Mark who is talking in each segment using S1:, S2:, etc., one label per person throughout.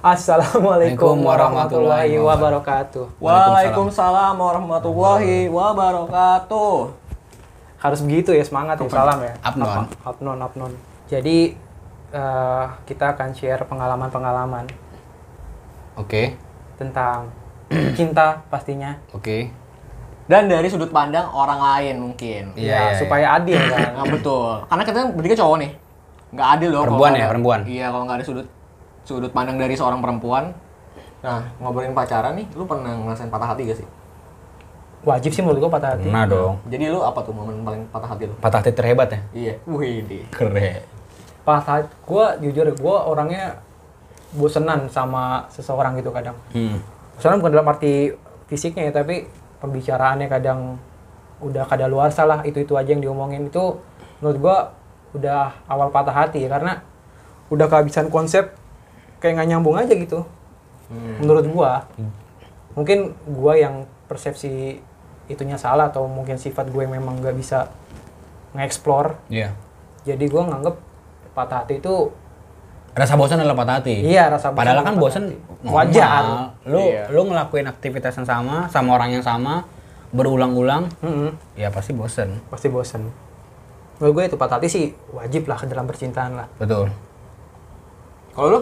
S1: Assalamualaikum warahmatullahi
S2: warahmatullahi
S1: wabarakatuh.
S3: Waalaikumsalam warahmatullahi wabarakatuh.
S1: Harus begitu ya semangat ya salam ya.
S2: Apnon.
S1: Up- Apnon apnon. Jadi eh, kita akan share pengalaman-pengalaman
S2: Oke,
S1: tentang cinta pastinya.
S2: oke.
S3: Dan dari sudut pandang orang lain mungkin.
S2: Iya, iya, iya.
S1: Ya, supaya adil kan.
S3: Nah, betul. Karena kita bertiga cowok nih. Nggak adil loh. kalau
S2: Perempuan ya,
S3: nggak-
S2: perempuan.
S3: Iya, kalau nggak ada sudut sudut pandang dari seorang perempuan. Nah, ngobrolin pacaran nih, lu pernah ngerasain patah hati gak sih?
S1: Wajib sih menurut gua patah hati.
S2: Nah dong.
S3: Jadi lu apa tuh momen paling patah hati lu?
S2: Patah hati terhebat ya?
S3: Iya. Wih, di.
S2: Keren.
S1: Patah hati gua jujur gua orangnya bosenan sama seseorang gitu kadang.
S2: Hmm.
S1: Bosenan bukan dalam arti fisiknya ya, tapi pembicaraannya kadang udah kadaluarsa lah itu-itu aja yang diomongin itu menurut gua udah awal patah hati ya, karena udah kehabisan konsep kayak nggak nyambung aja gitu. Menurut gua mungkin gua yang persepsi itunya salah atau mungkin sifat gue yang memang nggak bisa nge-explore
S2: Iya.
S1: jadi gue nganggep patah hati itu
S2: Rasa bosan adalah patah hati.
S1: Iya, rasa bosan
S2: Padahal kan
S1: adalah
S2: bosan
S1: patah hati.
S2: normal.
S1: Wajar.
S2: Lu
S3: Iya.
S2: lu ngelakuin aktivitas yang sama sama orang yang sama berulang-ulang,
S1: "Mm-mm,
S2: ya pasti bosan.
S1: pasti bosen menurut gue itu patah hati sih wajib lah dalam percintaan lah
S2: Betul.
S3: Kalau lu?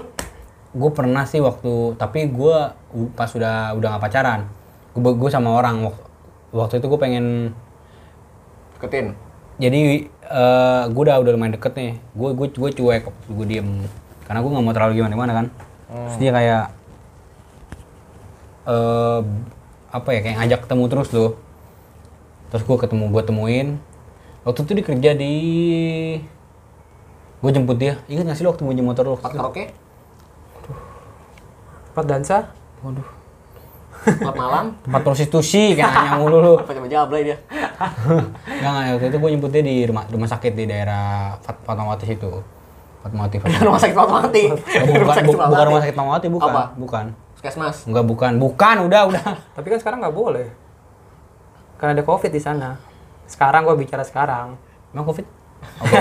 S2: gue pernah sih waktu tapi gue pas udah udah nggak pacaran gue gue sama orang waktu, waktu itu gue pengen
S3: Deketin.
S2: jadi gue udah udah lumayan deket nih gue gue gue cuek gue diem karena gue nggak mau terlalu gimana gimana kan terus dia kayak eh apa ya kayak ngajak ketemu terus tuh terus gue ketemu gue temuin waktu itu dia kerja di gue jemput dia ingat nggak sih lu waktu gue jemput motor lu
S3: Tempat
S2: waktu itu?
S3: karaoke?
S1: tempat dansa
S2: Waduh.
S3: Tempat malam?
S2: tempat prostitusi kayak nanya mulu lu
S3: Apa coba jablay dia?
S2: Enggak, enggak. Waktu itu gue nyebut dia di rumah rumah sakit di daerah Fat- Fatmawati situ. Fatmawati, Fatmawati.
S3: Rumah sakit Fatmawati.
S2: Oh, bukan, bu- bukan
S3: Fatmawati.
S2: rumah sakit Fatmawati, bukan.
S3: Apa?
S2: Bukan.
S3: Puskesmas.
S2: Enggak, bukan. Bukan, udah, udah.
S1: tapi kan sekarang nggak boleh karena ada covid di sana sekarang gue bicara sekarang
S2: Emang Covid? Oke.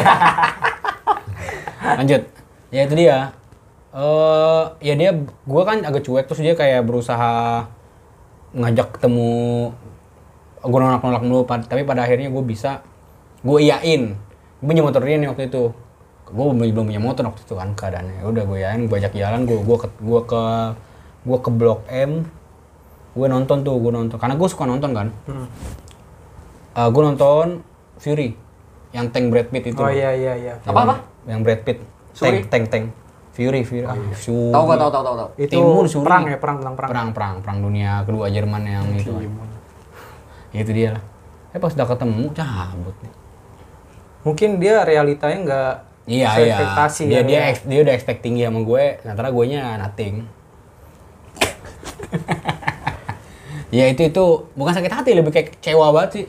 S2: Lanjut. Ya itu dia. Eh, ya dia gua kan agak cuek terus dia kayak berusaha ngajak ketemu gue nolak-nolak dulu pad- tapi pada akhirnya gue bisa gue iyain gue punya motor dia nih waktu itu gue belum punya motor waktu itu kan keadaannya udah gue iyain gue ajak jalan gue gua ke gua ke gua ke blok M gue nonton tuh gue nonton karena gue suka nonton kan
S1: Hmm.
S2: gue Eh, nonton Fury yang tank Brad Pitt itu
S1: oh iya iya iya
S3: Apa, apa?
S2: yang Brad Pitt
S3: Fury?
S2: tank tank tank Fury Fury ah, Fury.
S3: Tahu gak tahu tahu tahu tahu.
S1: Oh, iya. itu
S2: Timun, Suri.
S1: perang ya perang tentang perang,
S2: perang perang perang dunia kedua Jerman yang itu kan. Ya, itu dia lah eh pas udah ketemu cabut nih
S1: mungkin dia realitanya nggak
S2: iya
S1: sesuai
S2: iya
S1: ekspektasi
S2: dia
S1: kali
S2: dia
S1: ya.
S2: ex- dia udah expect tinggi sama gue ternyata gue nya nothing ya itu itu bukan sakit hati lebih kayak kecewa banget sih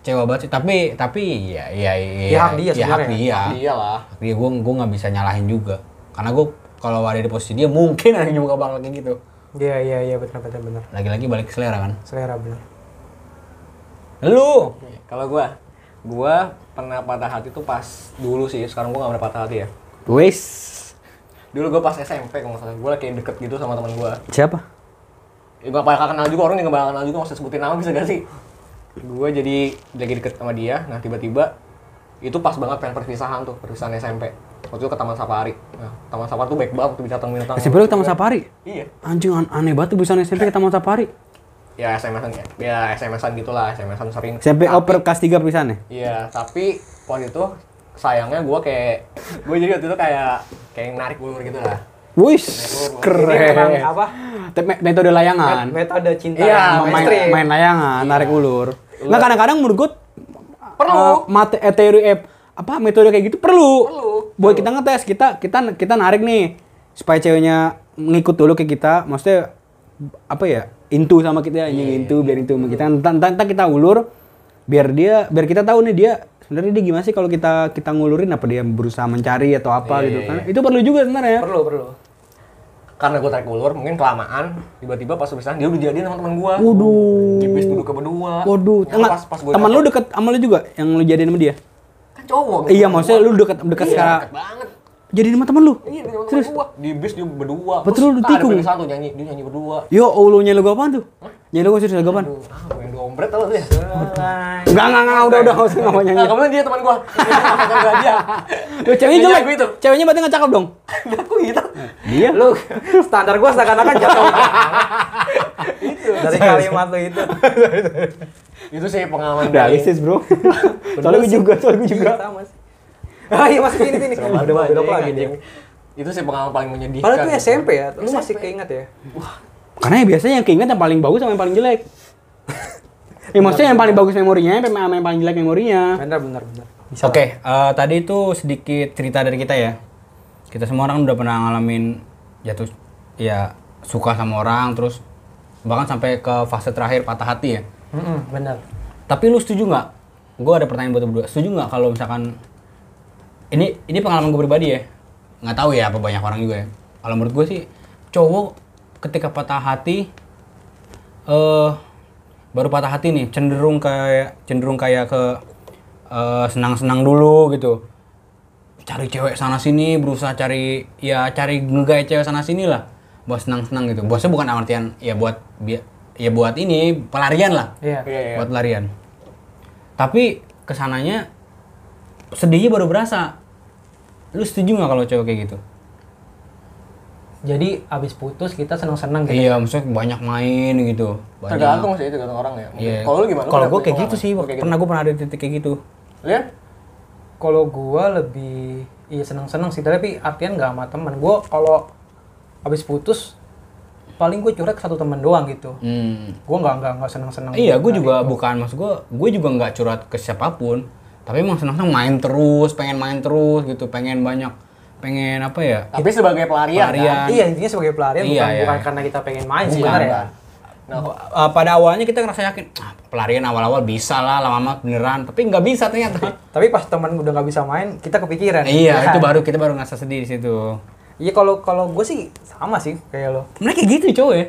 S2: kecewa banget sih tapi tapi ya ya ya,
S1: Ya, hak dia
S2: ya, hak
S1: sebenarnya.
S2: dia
S3: Iyalah.
S2: Hak dia gue gue nggak bisa nyalahin juga karena gue kalau ada di posisi dia mungkin ada juga bakal kayak gitu
S1: iya iya iya benar benar benar
S2: lagi-lagi balik ke selera kan
S1: selera benar
S2: lu
S3: Kalau gua, gua pernah patah hati tuh pas dulu sih. Sekarang gua gak pernah patah hati ya.
S2: Wis.
S3: Dulu gua pas SMP kalau nggak salah, gua kayak deket gitu sama teman gua.
S2: Siapa?
S3: Ya, gak bakal kenal juga orang yang gak bakal kenal juga nggak usah sebutin nama bisa gak sih? Gua jadi lagi deket sama dia. Nah tiba-tiba itu pas banget pengen perpisahan tuh perpisahan SMP. Waktu itu ke Taman Safari. Nah, Taman Safari tuh baik banget tuh binatang-binatang.
S2: SMP lu ke Taman Sapari?
S3: Iya.
S2: Anjing an- aneh banget tuh bisa SMP ke Taman Sapari.
S3: Ya SMS-an ya. Ya SMS-an gitulah, SMS-an sering.
S2: SMP oper kelas 3 pisan ya?
S3: Iya, tapi waktu itu sayangnya gue kayak gue jadi waktu itu kayak kayak narik ulur gitu lah.
S2: Wis,
S1: Ini perang
S2: keren.
S1: apa
S2: Tapi me- metode layangan.
S1: metode cinta
S3: Iya,
S1: yang
S2: Main,
S1: mainstream.
S2: main layangan, narik ulur. Nah kadang-kadang menurut gue
S3: Perlu.
S2: mate, eh, teori eh, apa metode kayak gitu perlu.
S3: Perlu.
S2: Buat kita ngetes, kita kita kita narik nih supaya ceweknya ngikut dulu ke kita. Maksudnya apa ya? Intu sama
S3: Iya,
S2: kita anjing intu biar intu sama kita. Entar entar- entar kita ulur biar dia biar kita tahu nih dia sebenarnya dia gimana sih kalau kita kita ngulurin apa dia berusaha mencari atau
S3: Iya,
S2: apa gitu kan. Itu perlu juga sebenarnya.
S1: perlu perlu
S3: Karena gue tarik ulur, mungkin kelamaan. Tiba-tiba pas perpisahan dia udah jadian sama teman gue.
S2: Waduh.
S3: Jipis duduk ke berdua.
S2: Waduh,
S3: Yang
S2: enggak.
S3: Pas pas gue
S2: Teman lu deket sama lu juga yang lu jadian sama dia?
S3: kan cowok.
S2: Iya, maksudnya lu deket deket
S3: Iya,
S2: secara
S3: deket banget.
S4: jadi sama temen lu
S3: Iya, di Terus? berdua. Di bis dia berdua.
S4: Betul, lu
S3: tak ada
S4: tikung.
S3: pilih satu nyanyi, dia nyanyi berdua.
S4: yo oh, Allah nyanyi lagu apaan tuh nyanyi lagu serius lagu apaan
S3: Ah, main dua ompret tau dia.
S4: enggak enggak enggak udah udah nggak usah nggak mau nyanyi
S3: Nah, kemudian dia teman gua. Enggak dia.
S4: Loh, ceweknya
S3: Nyanyi
S4: jelek
S3: lagu itu.
S4: ceweknya berarti nggak cakep dong
S3: Aku gitu.
S4: dia
S1: Ya, Lu standar gua seakan-akan jatuh. itu.
S2: Iya,
S1: Dari kalimat lu itu.
S3: Itu sih pengalaman
S4: realistis bro soalnya gue juga soalnya gue juga
S1: Iya, sama sih. Ah, iya masuk sini sini.
S3: Serem banget,
S1: Udah mau belok
S3: anjing,
S2: Iya,
S1: lagi dia.
S3: anjing. Itu sih pengalaman paling menyedihkan. gitu.
S1: Padahal itu SMP ya, lu masih keinget ya?
S4: karena yang biasanya yang keinget yang paling bagus sama yang paling jelek Ya, maksudnya yang paling bagus memorinya sama yang paling jelek memorinya.
S1: Bener bener bener.
S2: Oke, eh, tadi itu sedikit cerita dari kita ya. Kita semua orang udah pernah ngalamin jatuh, ya suka sama orang, terus bahkan sampai ke fase terakhir patah hati ya.
S1: Mm-mm, bener.
S2: Tapi lu setuju nggak? Gue ada pertanyaan buat lu berdua. Setuju nggak kalau misalkan ini ini pengalaman gue pribadi ya? Nggak tahu ya apa banyak orang juga ya. Kalau menurut gue sih cowok ketika patah hati eh baru patah hati nih cenderung kayak cenderung kayak ke eh, senang-senang dulu gitu cari cewek sana sini berusaha cari ya cari ngegait cewek sana sini lah buat senang-senang gitu bosnya bukan artian ya buat bi- ya buat ini pelarian lah
S1: Iya.
S3: Iya, iya.
S2: buat larian. Tapi kesananya sedihnya baru berasa. Lu setuju nggak kalau cowok kayak gitu?
S1: Jadi abis putus kita seneng-seneng gitu.
S2: Iya, maksudnya banyak main gitu. Banyak.
S3: Tergantung sih, tergantung orang ya. Mungkin.
S2: Iya.
S3: Kalau lu gimana? Lu
S2: Kalau
S3: udah
S2: gue
S3: punya
S2: kayak gitu
S3: pengalaman?
S2: sih.
S3: Lu kayak
S2: Pernah gue pernah ada di titik kayak gitu.
S3: gitu. Lian?
S1: Kalau gua lebih iya seneng-seneng sih, tapi artian nggak sama temen. Gua kalau abis putus paling gue curhat ke satu temen doang gitu.
S2: Hmm.
S1: Gua nggak nggak nggak seneng-seneng.
S2: Iya, gue
S1: Nah,
S2: juga bukan maksud gue. Gue juga nggak curhat ke siapapun. Tapi emang senang-senang main terus, pengen main terus gitu, pengen banyak, pengen apa ya?
S3: Tapi sebagai pelarian,
S2: Pelarian.
S3: kan?
S1: Iya intinya sebagai pelarian
S2: Iya,
S1: bukan,
S2: iya.
S1: bukan karena kita pengen main
S3: Bukan,
S1: sih ya? sebenarnya.
S3: bukan. Nah, kok-
S2: Eh, pada awalnya kita ngerasa yakin ah, pelarian awal-awal bisa lah lama-lama beneran tapi nggak bisa ternyata
S1: Tapi pas teman udah nggak bisa main, kita kepikiran. Ya
S2: Iya,
S1: kan?
S2: itu baru kita baru ngerasa sedih di situ.
S1: Iya kalau kalau gue sih sama sih kayak lo.
S2: Mereka kayak gitu cowok ya.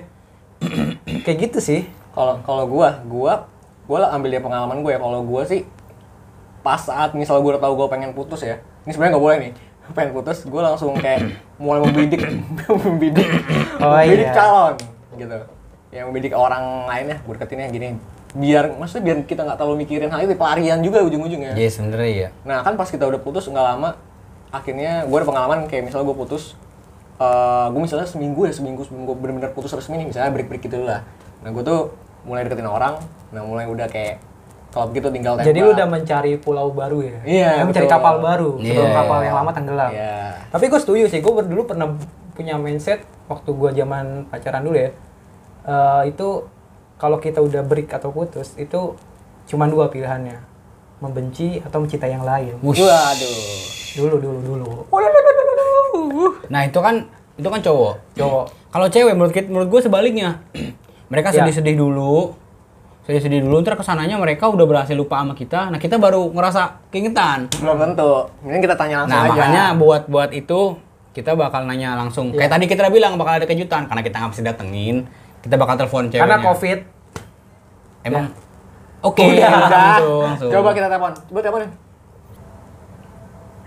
S1: Kayak gitu sih.
S3: kalau kalau gua, gua gua lah ambil dia pengalaman gue ya. Kalau gua sih pas saat misal gua udah tahu gua pengen putus ya. Ini sebenarnya nggak boleh nih. Pengen putus, gua langsung kayak mulai membidik membidik
S1: Oh,
S3: membidik
S1: iya.
S3: calon gitu. Ya membidik orang lainnya, gua deketinnya gini. Biar maksudnya biar kita nggak terlalu mikirin hal itu pelarian juga ujung-ujungnya.
S2: Iya sebenarnya iya.
S3: Nah kan pas kita udah putus nggak lama, akhirnya gue ada pengalaman kayak misalnya gue putus, gue misalnya seminggu ya seminggu seminggu bener-bener putus resmi nih misalnya break break gitu lah. Nah gue tuh mulai deketin orang, nah mulai udah kayak klub gitu tinggal tembak.
S1: Jadi lu udah mencari pulau baru ya.
S3: Iya,
S1: Lu mencari
S3: betul.
S1: kapal baru
S2: Iya,
S1: sebelum
S2: iya.
S1: kapal yang lama tenggelam.
S3: Iya.
S1: Tapi gue setuju sih. Gue dulu pernah punya mindset waktu gue zaman pacaran dulu ya. Eh, itu kalau kita udah break atau putus itu cuma dua pilihannya membenci atau mencintai yang lain
S2: Wush.
S3: Waduh.
S1: dulu dulu dulu
S2: Nah itu kan itu kan cowok.
S1: cowok
S2: Kalau cewek menurut kit- menurut gue sebaliknya. mereka
S1: Iya.
S2: sedih-sedih dulu, sedih-sedih dulu. Ntar kesananya mereka udah berhasil lupa sama kita. Nah kita baru ngerasa keingetan.
S3: Belum tentu. Mending kita tanya langsung
S2: Nah
S3: aja.
S2: makanya buat buat itu kita bakal nanya langsung.
S3: Iya.
S2: Kayak tadi kita udah bilang bakal ada kejutan karena kita nggak bisa datengin. Kita bakal telepon ceweknya.
S1: karena covid
S2: Emang. Oke.
S3: Udah.
S2: Iya. langsung, langsung.
S3: iya. Coba kita telepon. Coba teleponin.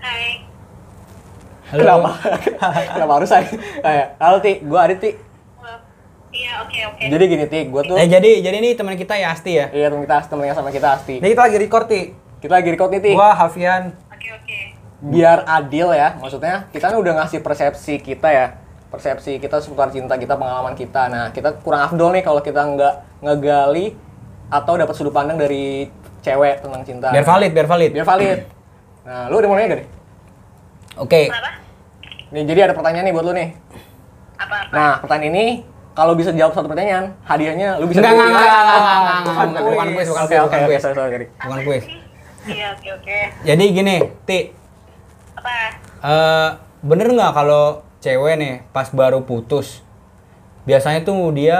S5: Hai,
S2: Halo.
S3: Kenapa? Kenapa harus saya? Kayak, Halo Ti, gue Adit Ti.
S5: Halo. iya oke oke.
S3: Jadi gini Ti, gue tuh
S2: Eh jadi jadi ini teman kita ya Asti ya.
S3: Iya temen kita, temennya sama kita Asti.
S1: ini kita lagi record ti
S3: Kita lagi record nih Ti.
S1: gua Hafian
S5: Oke oke.
S3: biar adil ya maksudnya kita kan udah ngasih persepsi kita ya persepsi kita seputar cinta kita pengalaman kita nah kita kurang afdol nih kalau kita nggak ngegali atau dapat sudut pandang dari cewek tentang cinta
S2: Biar valid, biar valid.
S3: biar valid nah lu udah mulai gak nih
S2: Oke.
S5: Apa?
S3: nih jadi ada pertanyaan nih buat lu nih
S5: Apa apa?
S3: nah pertanyaan ini kalau bisa jawab satu pertanyaan hadiahnya lu bisa
S2: Enggak, enggak,
S3: pilih.
S2: enggak, enggak, enggak, enggak, enggak,
S3: Bukan
S2: enggak, bukan
S3: kuis.
S2: kuis, bukan
S3: oke
S2: kuis,
S3: oke
S2: bukan
S3: oke
S2: kuis.
S3: sorry sorry sorry.
S2: Bukan
S5: Apa
S2: kuis.
S5: sih? Iya oke oke.
S2: Jadi gini, Ti,
S5: Apa?
S2: eh, bener nggak kalau cewek nih pas baru putus, biasanya tuh dia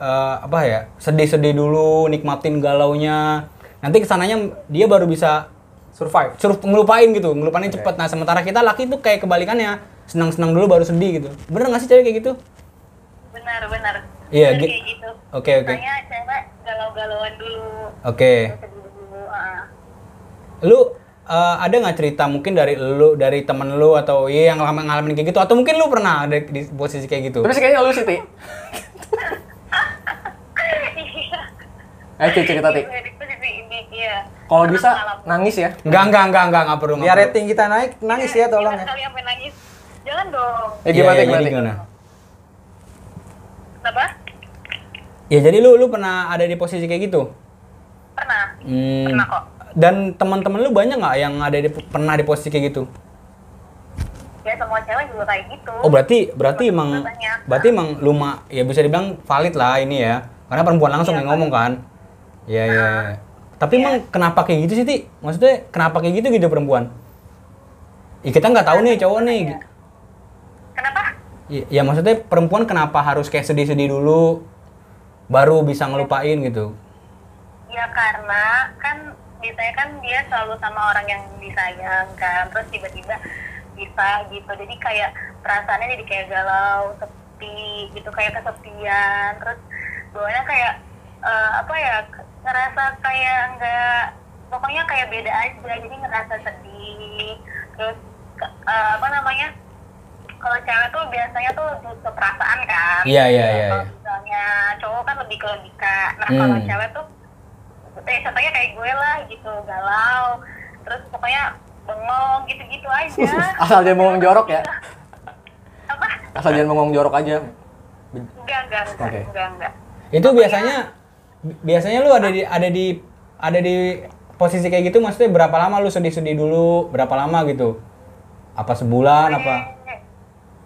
S2: eh, apa ya sedih-sedih dulu, nikmatin galaunya. Nanti kesananya dia baru bisa
S1: survive
S2: suruh ngelupain gitu, ngelupainnya cepet. Nah sementara kita laki tuh kayak kebalikannya, senang-senang dulu baru sedih gitu. Bener nggak sih cewek kayak gitu?
S5: Benar benar.
S2: Iya,
S5: Benar
S2: gi-
S5: kayak gitu.
S2: oke, oke.
S5: Tanya cewek galau-galauan dulu.
S2: Oke,
S5: Sedih dulu. ah.
S2: lu eh, ada nggak cerita mungkin dari lu, dari temen lu atau iya yang lama ngalamin kayak gitu atau mungkin lu pernah ada di posisi kayak gitu?
S3: Tapi sih kayaknya lu sih, Ti.
S5: Iya.
S3: Ayo Ti, Eh, cerita, Ti.
S5: Iya, di posisi ini, iya.
S3: Kalau
S5: Pernah
S3: bisa
S5: ngalamin.
S3: nangis ya.
S2: Enggak, enggak, enggak, enggak, enggak perlu. nggak
S1: Biar
S2: perlu.
S1: rating kita naik, nangis ya
S5: Iya,
S1: tolong ya.
S5: Jangan kali sampai nangis. Jangan dong.
S3: Eh
S2: Iya,
S3: gimana
S2: iya,
S3: gimana?
S2: jadi
S3: Ti?
S2: gimana?
S5: Apa?
S2: Ya jadi lu lu pernah ada di posisi kayak gitu?
S5: Pernah.
S2: Hmm.
S5: Pernah kok.
S2: Dan teman-teman lu banyak nggak yang ada di, pernah di posisi kayak gitu?
S5: Ya semua cewek juga kayak gitu.
S2: Oh berarti berarti emang
S5: Banyak.
S2: berarti emang luma ya bisa dibilang valid lah ini ya karena perempuan langsung yang ngomong kan. Iya iya. iya.
S5: Ah.
S2: Tapi emang kenapa kayak gitu sih ti? Maksudnya kenapa kayak gitu gitu perempuan? Ya kita nggak tahu nih cowok nih.
S5: Kenapa?
S2: Ya, ya maksudnya perempuan kenapa harus kayak sedih-sedih dulu baru bisa ngelupain gitu?
S5: Ya karena kan biasanya kan dia selalu sama orang yang disayang kan terus tiba-tiba bisa gitu jadi kayak perasaannya jadi kayak galau sepi gitu kayak kesepian terus bawahnya kayak eh, apa ya ke- ngerasa kayak enggak pokoknya kayak beda aja jadi ngerasa sedih terus ke- eh, apa namanya kalau cewek tuh biasanya tuh butuh perasaan kan
S2: Iya, iya, iya,
S5: Kalau
S2: iya.
S5: misalnya cowok kan lebih ke logika nah
S2: Hmm.
S5: kalau cewek tuh eh contohnya kayak gue lah gitu galau terus pokoknya bengong gitu-gitu aja
S3: Asal jangan bengong jorok ya.
S5: apa
S3: Asal jangan bengong jorok aja.
S5: enggak enggak enggak
S3: Oke.
S5: enggak enggak
S2: Itu biasanya bi- biasanya lu ada di ada di ada di posisi kayak gitu maksudnya berapa lama lu sedih-sedih dulu? Berapa lama gitu? Apa sebulan apa?
S5: Gue-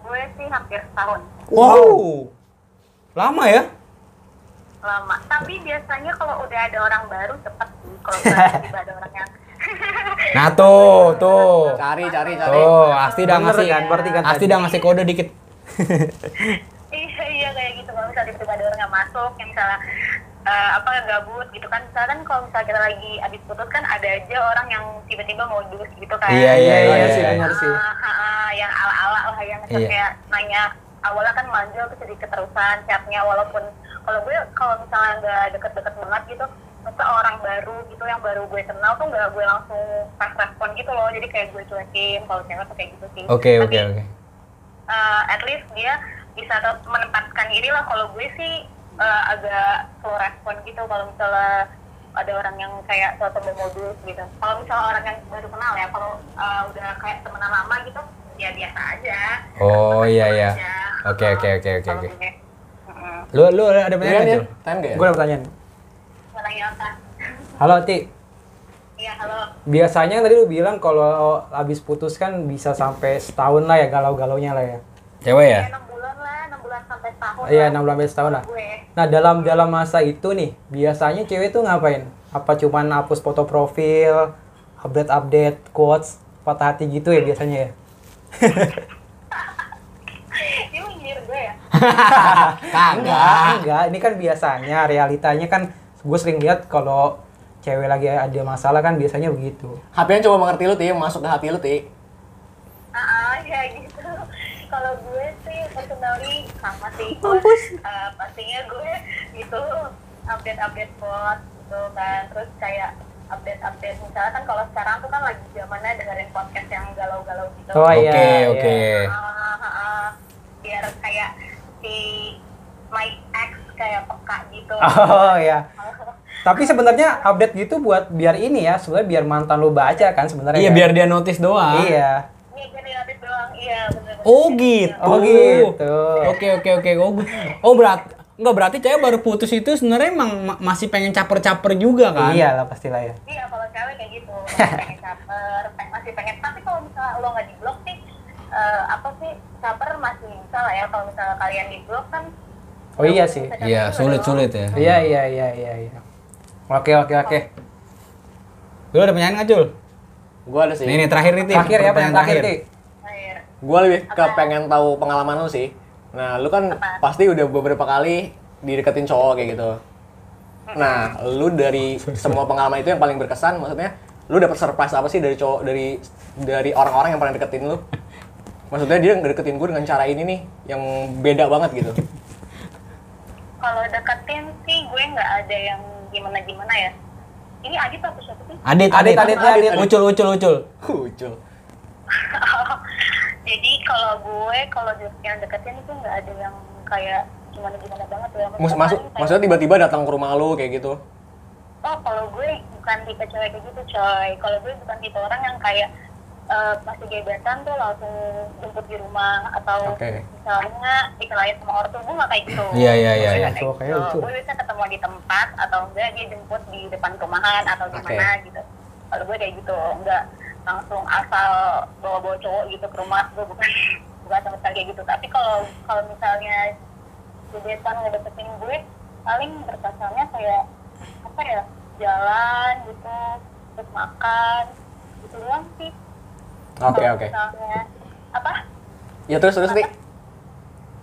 S5: gue sih hampir setahun
S2: Wow. Lama ya?
S5: lama tapi biasanya kalau udah ada orang baru cepet sih kalau tiba ada orang yang
S2: Nah tuh, tuh.
S3: Cari cari cari.
S2: Tuh, Asti udah
S1: Bener
S2: ngasih.
S1: kan, berarti kan
S2: Asti
S1: tadi.
S2: udah ngasih kode dikit.
S5: iya iya kayak gitu kalau misalnya tiba-tiba ada orang yang masuk yang misalnya eh, apa gabut gitu kan misalnya kan kalau misalnya kita lagi abis putus kan ada aja orang yang tiba-tiba modus gitu kan
S2: Iya, iya,
S1: Iya,
S2: iya,
S1: iya sih
S2: iya.
S1: benar sih.
S5: Ah, ah, ah, yang ala-ala lah yang
S2: Iya.
S5: kayak nanya awalnya kan manjel terus jadi keterusan chatnya walaupun kalau gue kalau misalnya nggak deket-deket banget gitu masa orang baru gitu yang baru gue kenal tuh nggak gue langsung pas respon gitu loh jadi kayak gue cuekin kalau cewek tuh kayak gitu sih
S2: Oke,
S5: Tapi,
S2: oke, oke.
S5: eh, at least dia bisa tetap menempatkan diri lah kalau gue sih eh, agak slow respon gitu kalau misalnya ada orang yang kayak suatu modus gitu kalau misalnya orang yang baru kenal ya kalau eh, udah kayak temenan lama gitu ya biasa aja
S2: Oh, iya, iya.
S5: Aja.
S2: Oke, oke, oke, oke,
S5: Kalau
S2: oke.
S5: gue. Mm-mm.
S2: Lu lu ada
S3: Iya
S2: pertanyaan
S3: ya?
S2: nggak, Jul?
S3: Time nggak ya?
S1: Gue ada pertanyaan.
S5: Mau nanya apa
S1: Halo Ti,
S5: iya halo
S1: biasanya tadi lu bilang kalau habis putus kan bisa sampai setahun lah ya galau-galaunya lah ya.
S2: Cewek ya?
S5: ya enam bulan lah enam bulan sampai tahun
S1: Iya,
S5: lah.
S1: 6 bulan sampai setahun lah.
S5: gue
S1: Nah, dalam dalam masa itu nih, biasanya cewek tuh ngapain? Apa cuman hapus foto profil, update-update quotes, patah hati gitu ya biasanya ya?
S5: ini nyindir Eh, gue ya
S1: Enggak, enggak. Ini kan biasanya realitanya kan gue sering lihat kalau cewek lagi ada masalah kan biasanya begitu.
S3: HP-nya coba mengerti lu, Ti. Masuk ke hati lu, Ti.
S5: Ah, ah, ya gitu. Kalau gue sih personally sama sih. Mampus. pastinya gue gitu update-update post gitu kan. Terus kayak update-update misalnya kan kalau sekarang tuh kan lagi zamannya dengerin podcast yang galau-galau gitu.
S1: Oh, iya,
S2: Oke,
S1: iya.
S2: oke.
S5: Ah, ah, ah. biar kayak si my ex kayak peka gitu.
S1: Oh
S2: iya.
S1: ya. Tapi sebenarnya update gitu buat biar ini ya, sebenarnya biar mantan lu baca kan sebenarnya.
S2: Iya,
S1: kan?
S2: biar dia notice doang.
S1: Iya.
S5: Nih gue dilatih doang. Iya, bener
S2: Oh gitu.
S1: Oh, gitu.
S2: Oke oke oke. Oh, gue- oh berarti nggak berarti cewek baru putus itu sebenarnya emang ma- masih pengen caper-caper juga kan?
S1: Iya lah pastilah ya.
S5: Iya kalau cewek kayak gitu masih pengen caper, pe- masih pengen. Tapi kalau misalnya lo nggak diblok sih, eh, apa sih caper masih bisa lah ya. Kalau misalnya kalian diblok kan.
S1: Oh iya sih.
S2: Iya sulit sulit ya.
S1: Iya iya iya iya iya. Oke oke oke.
S2: Lu ada pertanyaan nggak Jul?
S3: Gue ada sih.
S2: Nih nih terakhir nih. Ti.
S1: Terakhir ya pertanyaan terakhir Ti.
S5: Air.
S3: Gue lebih ke pengen tahu pengalaman lu sih. Nah, lu kan
S5: Apa?
S3: pasti udah beberapa kali dideketin cowok kayak gitu. Nah, lu dari semua pengalaman itu yang paling berkesan, maksudnya lu dapat surprise apa sih dari cowok dari dari orang-orang yang pernah deketin lu? Maksudnya dia deketin gue dengan cara ini nih, yang beda banget gitu.
S5: Kalau deketin sih gue nggak ada yang gimana gimana ya. ini Adit apa siapa sih?
S2: Adit,
S1: Adit,
S2: adit,
S1: Adit, Adit.
S2: Ucul, ucul, ucul.
S3: Kucul.
S5: Jadi kalau gue kalau di- yang deketin itu nggak ada yang kayak gimana gimana banget ya.
S3: Mas, masuk,
S5: Paling kayak,
S3: maksudnya tiba-tiba datang ke rumah lu kayak gitu.
S5: Oh kalau gue bukan tipe cewek kayak gitu coy. Kalau gue bukan tipe orang yang kayak eh, pasti gebetan tuh langsung jemput di rumah atau
S3: Oke.
S5: misalnya dikelain sama ortu gue nggak kayak gitu.
S2: Iya, iya, iya,
S5: Gue
S2: iya.
S5: nggak kayak
S1: Cowok kayak
S5: gitu.
S1: lucu.
S5: Gue biasanya ketemu di tempat atau enggak dia jemput di depan rumahan atau di
S3: Oke.
S5: mana gitu. Kalau gue kayak gitu enggak langsung asal bawa-bawa cowok gitu ke rumah gue bukan bukan sama sekali kayak gitu. Tapi kalau kalau misalnya gebetan ngedeketin gue paling berkesannya kayak apa ya jalan gitu terus makan gitu doang sih
S3: Oke,
S5: Kalau
S3: oke.
S5: misalnya apa
S3: Ya terus terus nih.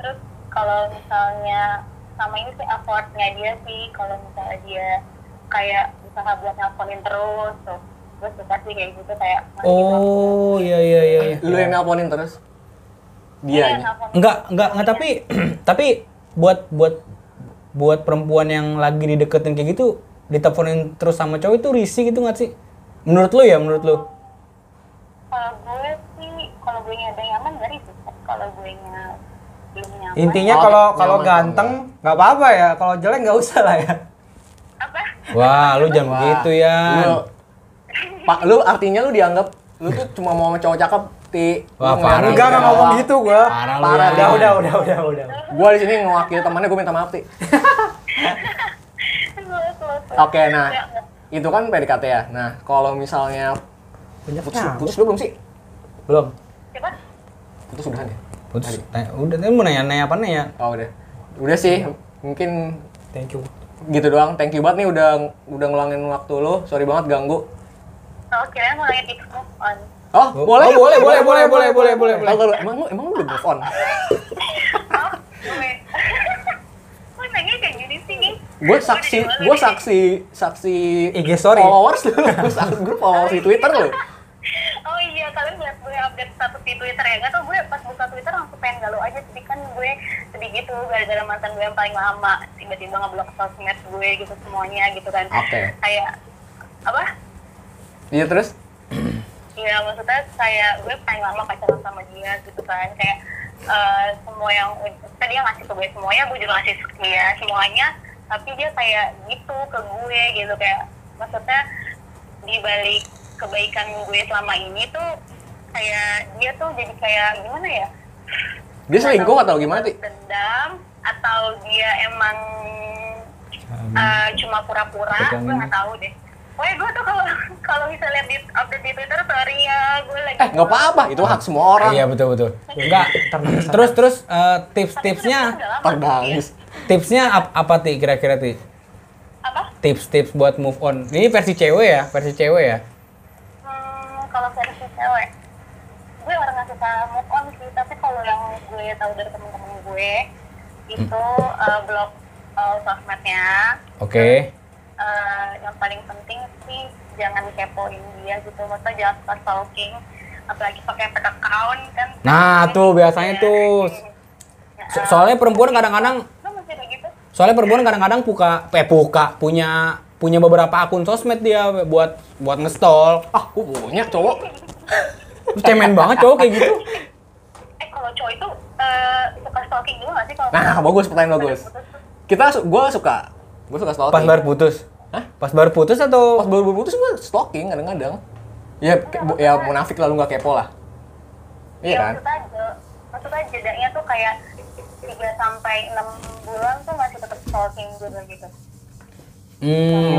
S5: terus kalau misalnya sama ini sih effortnya dia sih kalau misalnya dia kayak usaha buat nelfonin terus tuh gue suka sih kayak gitu kayak ngasih
S2: Oh, iya, iya, iya. iya.
S3: Lu yang nelponin terus.
S5: waktu. Iya,
S3: Dia.
S5: nelfonin.
S2: Enggak, enggak, enggak, tapi, tapi buat, buat, buat perempuan yang lagi dideketin kayak gitu, diteleponin terus sama cowok itu risih gitu nggak sih? Menurut lu ya, menurut lu?
S5: kalau gue sih kalau gue nya ada nyaman dari sih kalau gue nya belum nyaman
S1: Intinya
S3: Oh,
S1: kalau
S2: iya,
S3: nyaman
S1: kalau
S3: kalau
S1: ganteng nggak apa-apa ya, kalau jelek nggak usah lah ya.
S5: apa
S2: Wah, lu jangan
S3: Wah,
S2: begitu ya.
S3: Lu, Pak, lu artinya lu dianggap lu tuh cuma mau sama cowok cakep, Ti. Lu
S2: Wah,
S3: nggak-
S2: parah.
S1: Enggak nggak ngomong gitu gua.
S2: Parah lu
S3: Parah,
S2: ya.
S1: Udah udah udah udah udah.
S3: Gua di sini ngewakili temannya, gua minta maaf, Ti. Oke, nah. Itu kan PDKT ya. Nah, kalau misalnya
S1: Banyak
S3: putus,
S1: nyamuk.
S3: putus dulu belum sih?
S1: Belum.
S5: coba
S3: Putus udahan ya?
S2: Putus, tanya- udah, tadi mau nanya-nanya apa nih ya?
S3: Oh, udah. Udah sih, mungkin
S1: Thank you.
S3: gitu doang. Thank you banget nih udah udah ngeluangin waktu lu. Sorry banget ganggu.
S5: kalau kira Oh, mau lagi tips move on
S3: Oh,
S2: Oh,
S3: boleh,
S2: oh, boleh, boleh, boleh, boleh, boleh, boleh, boleh.
S3: Tahu nggak lu, emang lu emang lu udah move on.
S5: oh gue Kok nanya kayak gini sih nih
S3: Gue saksi, gue saksi, saksi
S1: IG story.
S3: followers lu, gue saksi grup followers di Twitter lu.
S5: Oh iya, kalian lihat gue update status di Twitter ya. Gak tau gue pas buka Twitter langsung pengen galau aja. Sedih kan gue sedih gitu gara-gara mantan gue yang paling lama. Tiba-tiba ngeblok sosmed gue gitu semuanya gitu kan.
S3: Oke.
S5: Kayak, apa?
S3: Iya terus,
S5: Ya maksudnya kayak gue paling lama pacaran sama dia gitu kan. Kayak eh, semua yang, tadi dia ngasih ke gue semuanya, gue juga ngasih ke dia semuanya. Tapi dia kayak gitu ke gue gitu kayak. Maksudnya di balik kebaikan gue selama ini tuh kayak dia tuh jadi kayak gimana ya
S3: dia selingkuh atau gimana ti?
S5: dendam atau dia emang
S2: Hmm. Ah.
S5: uh, cuma pura-pura gue nggak tahu deh Woi gue tuh kalau kalau bisa lihat di update di Twitter sorry ya gue lagi
S3: Eh nggak apa-apa, itu hak semua orang.
S2: Iya betul betul. Enggak.
S1: Ntar nangis.
S2: Terus terus eh,
S5: Tapi udah
S2: tips-tipsnya
S5: lama sih.
S3: Terbangis.
S2: tipsnya ap- apa ti kira-kira ti?
S5: apa
S2: Tips-tips buat move on. Ini versi cewek ya, versi cewek ya.
S5: Hmm, kalau versi cewek, gue orang nggak suka move on sih. Tapi kalau yang gue tahu dari temen-temen gue
S2: Hmm.
S5: itu eh, blok eh, sosmednya.
S2: Oke.
S5: Eh, yang paling penting sih jangan kepoin dia gitu. Maksudnya jangan suka stalking, apalagi pakai fake account kan. Iya,
S2: Nah, tuh biasanya tuh. So- soalnya perempuan kadang-kadang
S5: Lo masih kayak gitu?
S2: soalnya perempuan kadang-kadang puka eh puka punya punya beberapa akun sosmed dia buat buat ngestol.
S3: Ah, gue punya cowok.
S2: Terus cemen banget cowok kayak gitu.
S5: Eh kalau cowok itu eh, suka stalking juga nggak sih kalau
S3: Nah, bagus pertanyaan bagus. Kita, su- gue suka, gue suka stalking.
S2: Pas baru putus.
S3: Hah?
S2: Pas baru putus atau
S3: Pas baru baru putus gue stalking kadang-kadang. Ya, ke- bu- ya munafik lalu nggak kepo lah. Iya
S5: Iya
S3: kan?
S5: maksudnya je- maksudnya jedanya tuh kayak 3 sampai 6 bulan tuh masih tetap stalking juga gitu.
S2: Hmm,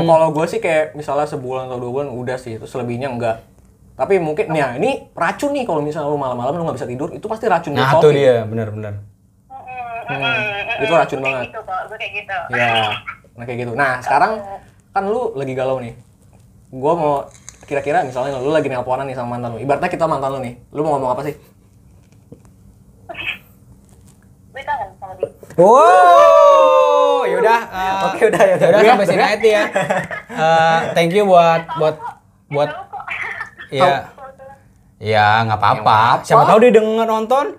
S3: Hmm, Kalau gue sih kayak misalnya sebulan atau dua bulan udah sih, terus selebihnya enggak. Tapi mungkin, nah ini racun nih kalau misalnya lu malam-malam lu nggak bisa tidur, itu pasti racun
S2: nah
S3: dari
S2: tuh
S3: stalking.
S2: dia benar-benar.
S5: Mm-mm,
S3: Hmm,
S5: mm-mm,
S3: itu racun
S5: kayak
S3: banget.
S5: Gitu kok, gue kayak gitu.
S3: Ya, nah kayak gitu. Nah sekarang kan lu lagi galau nih. Gue mau kira-kira misalnya lu lagi nelponan nih sama mantan lu. Ibaratnya kita mantan lu nih. Lu mau ngomong apa sih?
S5: Gue kangen sama dia.
S2: Wow, yaudah. eh,
S1: Oke, udah, ya, udah.
S2: Yaudah Ah, sampai sini aja ya. Eh, thank you buat buat buat
S5: Tahu kok.
S2: ya ya nggak apa-apa. Siapa tahu dia denger nonton,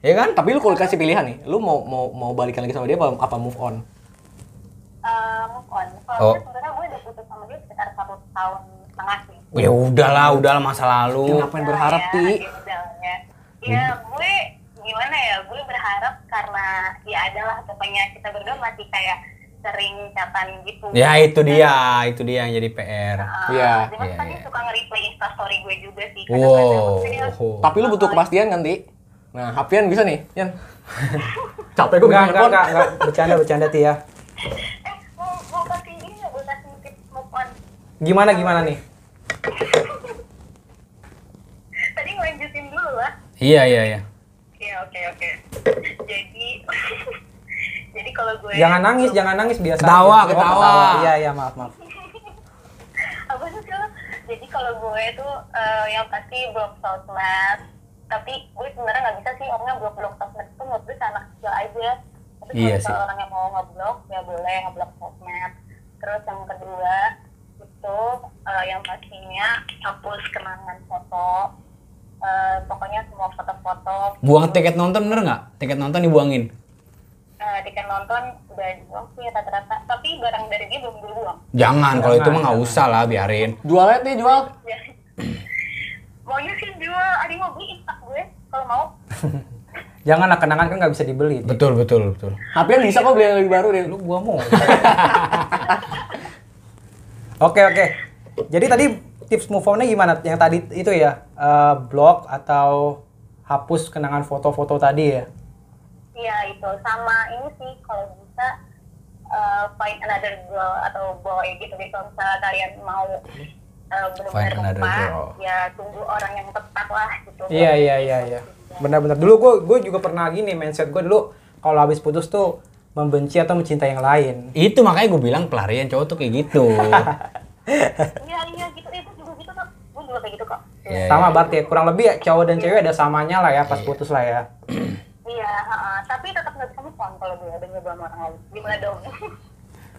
S2: ya kan?
S3: Tapi lu kalau dikasih pilihan nih, lu mau mau mau balikan lagi sama dia apa, apa move on?
S5: eh, move on.
S2: Oh.
S5: Soalnya sebenarnya gue udah putus sama dia sekitar satu tahun setengah sih.
S2: Ya udahlah, udahlah masa lalu.
S3: Kenapa yang berharap,
S5: Ya,
S3: Ti?
S5: ya udahnya. Ya gue gimana ya, gue berharap karena ya adalah pokoknya kita berdua masih kayak sering catatan gitu.
S2: Ya itu dia, itu dia yang jadi PR.
S3: Iya,
S5: Iya. Cuman
S2: iya,
S5: tadi
S2: iya.
S5: suka nge-replay instastory gue juga sih.
S2: Wow.
S3: Tapi lu butuh kepastian kan, Ti? Nah, Hafian bisa nih, Yan. Capek gue
S1: Enggak, enggak,
S3: bikin handphone.
S1: enggak, enggak. Bercanda, bercanda Ti ya.
S5: Eh, mau, mau kasih ini ya, gue kasih tips move on.
S1: Gimana, gimana nih?
S5: Tadi ngelanjutin dulu lah.
S2: Iya iya iya.
S5: Iya, oke, oke. Jadi, jadi kalau gue...
S1: Jangan nangis, jangan nangis biasa.
S2: Ketawa,
S1: aja. Oh,
S2: ketawa.
S1: Iya, iya, maaf, maaf.
S5: apa sih lo? Jadi kalau gue tuh eh, yang pasti blok sosmed. Tapi gue sebenarnya nggak bisa sih orangnya blok-blok sosmed itu menurut gue anak kecil aja. Tapi kalau
S2: Iya
S5: misalnya
S2: sih.
S5: orang yang mau ngeblok ya boleh ngeblok sosmed. Terus yang kedua itu eh, yang pastinya hapus kenangan foto. Eh, pokoknya semua foto-foto
S2: Buang tiket nonton bener nggak? Tiket nonton dibuangin.
S5: eh, tiket nonton udah dibuang sih rata-rata tapi barang dari dia belum gue buang
S2: Jangan, kalau itu mah nggak usah lah, biarin.
S3: Jual aja, Ti, jual.
S5: Ya. maunya sih jual ada yang mau beli instak gue kalau mau
S1: Jangan lah, kenangan kan nggak bisa dibeli. Ti.
S2: Betul betul betul.
S3: Hafian bisa kok beli yang lebih baru deh. Lu
S1: Gua mau. Oke, oke. Jadi tadi tips move on-nya gimana? Yang tadi itu ya, eh, blok atau hapus kenangan foto-foto tadi ya?
S5: Iya itu sama ini sih kalau bisa uh, find another girl atau boy gitu jadi kalau misalnya kalian mau uh,
S2: Find
S5: benar-benar
S2: another
S5: tepat
S2: girl.
S5: ya tunggu orang yang tepat lah gitu
S1: Iya iya iya iya. Benar-benar dulu gue gue juga pernah gini mindset gue dulu kalau habis putus tuh membenci atau mencintai yang lain.
S2: Itu makanya gue bilang pelarian cowok tuh kayak gitu.
S5: iya iya gitu itu juga gitu kok gue juga kayak gitu kok
S2: Iya,
S1: Sama berarti ya, kurang lebih ya, cowok dan cewek ada samanya lah ya pas putus lah ya.
S5: iya ha-ha. tapi tetap nggak bisa move on kalau gue udah nyoba sama orang lain gimana dong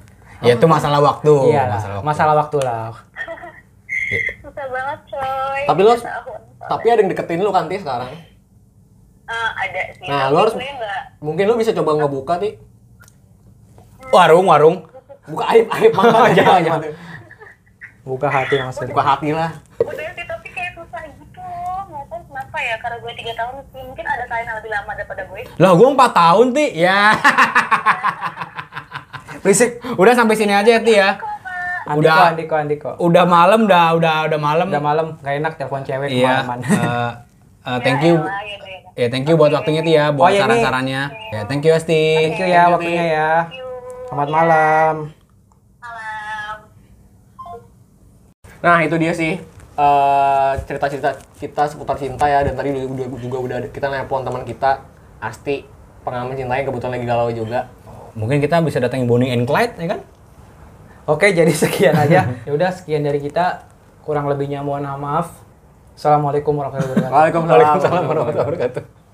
S2: Ya itu masalah waktu.
S1: Iya lah,
S2: masalah waktu.
S1: masalah waktu lah.
S5: susah banget coy
S3: Tapi lo-
S5: Tiga tahun.
S3: Tapi ada yang deketin lu kan, Ti, sekarang.
S5: Eh, ada sih
S3: Nah,
S5: tapi
S3: lo harus-
S5: gue nggak
S3: Mungkin lu bisa coba ngebuka, Ti.
S2: Warung warung.
S3: Buka aib, aib. Makan, jangan, jangan.
S1: Buka hati maksudnya.
S3: Buka hati lah.
S5: udah sih tapi kayak susah gitu nggak tahu kenapa ya karena gue tiga tahun sih mungkin ada kalian yang lebih lama daripada gue
S2: Lah gue 4 tahun ti. Ya. Berisik. Udah sampai sini aja ya ti ya.
S1: Andiko,
S2: Udah.
S1: Andiko, Andiko.
S2: Udah malam, dah udah udah malam.
S1: Udah malam, gak enak telepon cewek
S2: Iya.
S1: kemalaman.
S2: eh, eh, thank
S1: Dạ,
S2: you.
S5: Ya, ya, ya, ya.
S2: Ya thank you buat waktunya ti ya,
S1: Oh,
S2: buat
S1: iya, ini-
S2: saran-sarannya. Ya thank you Asti.
S1: Thank you ya waktunya ya.
S5: Thank you.
S1: Selamat malam.
S5: Malam.
S3: Nah itu dia sih eh, cerita-cerita kita seputar cinta ya dan tadi juga, juga udah ada- kita nelpon teman kita Asti pengalaman cintanya kebetulan lagi galau juga.
S2: Mungkin kita bisa datangin Bonnie and Clyde ya kan?
S1: Oke, jadi sekian aja. Ya udah sekian dari kita. Kurang lebihnya mohon maaf. Assalamualaikum warahmatullahi wabarakatuh.
S3: Waalaikumsalam.
S2: warahmatullahi wabarakatuh.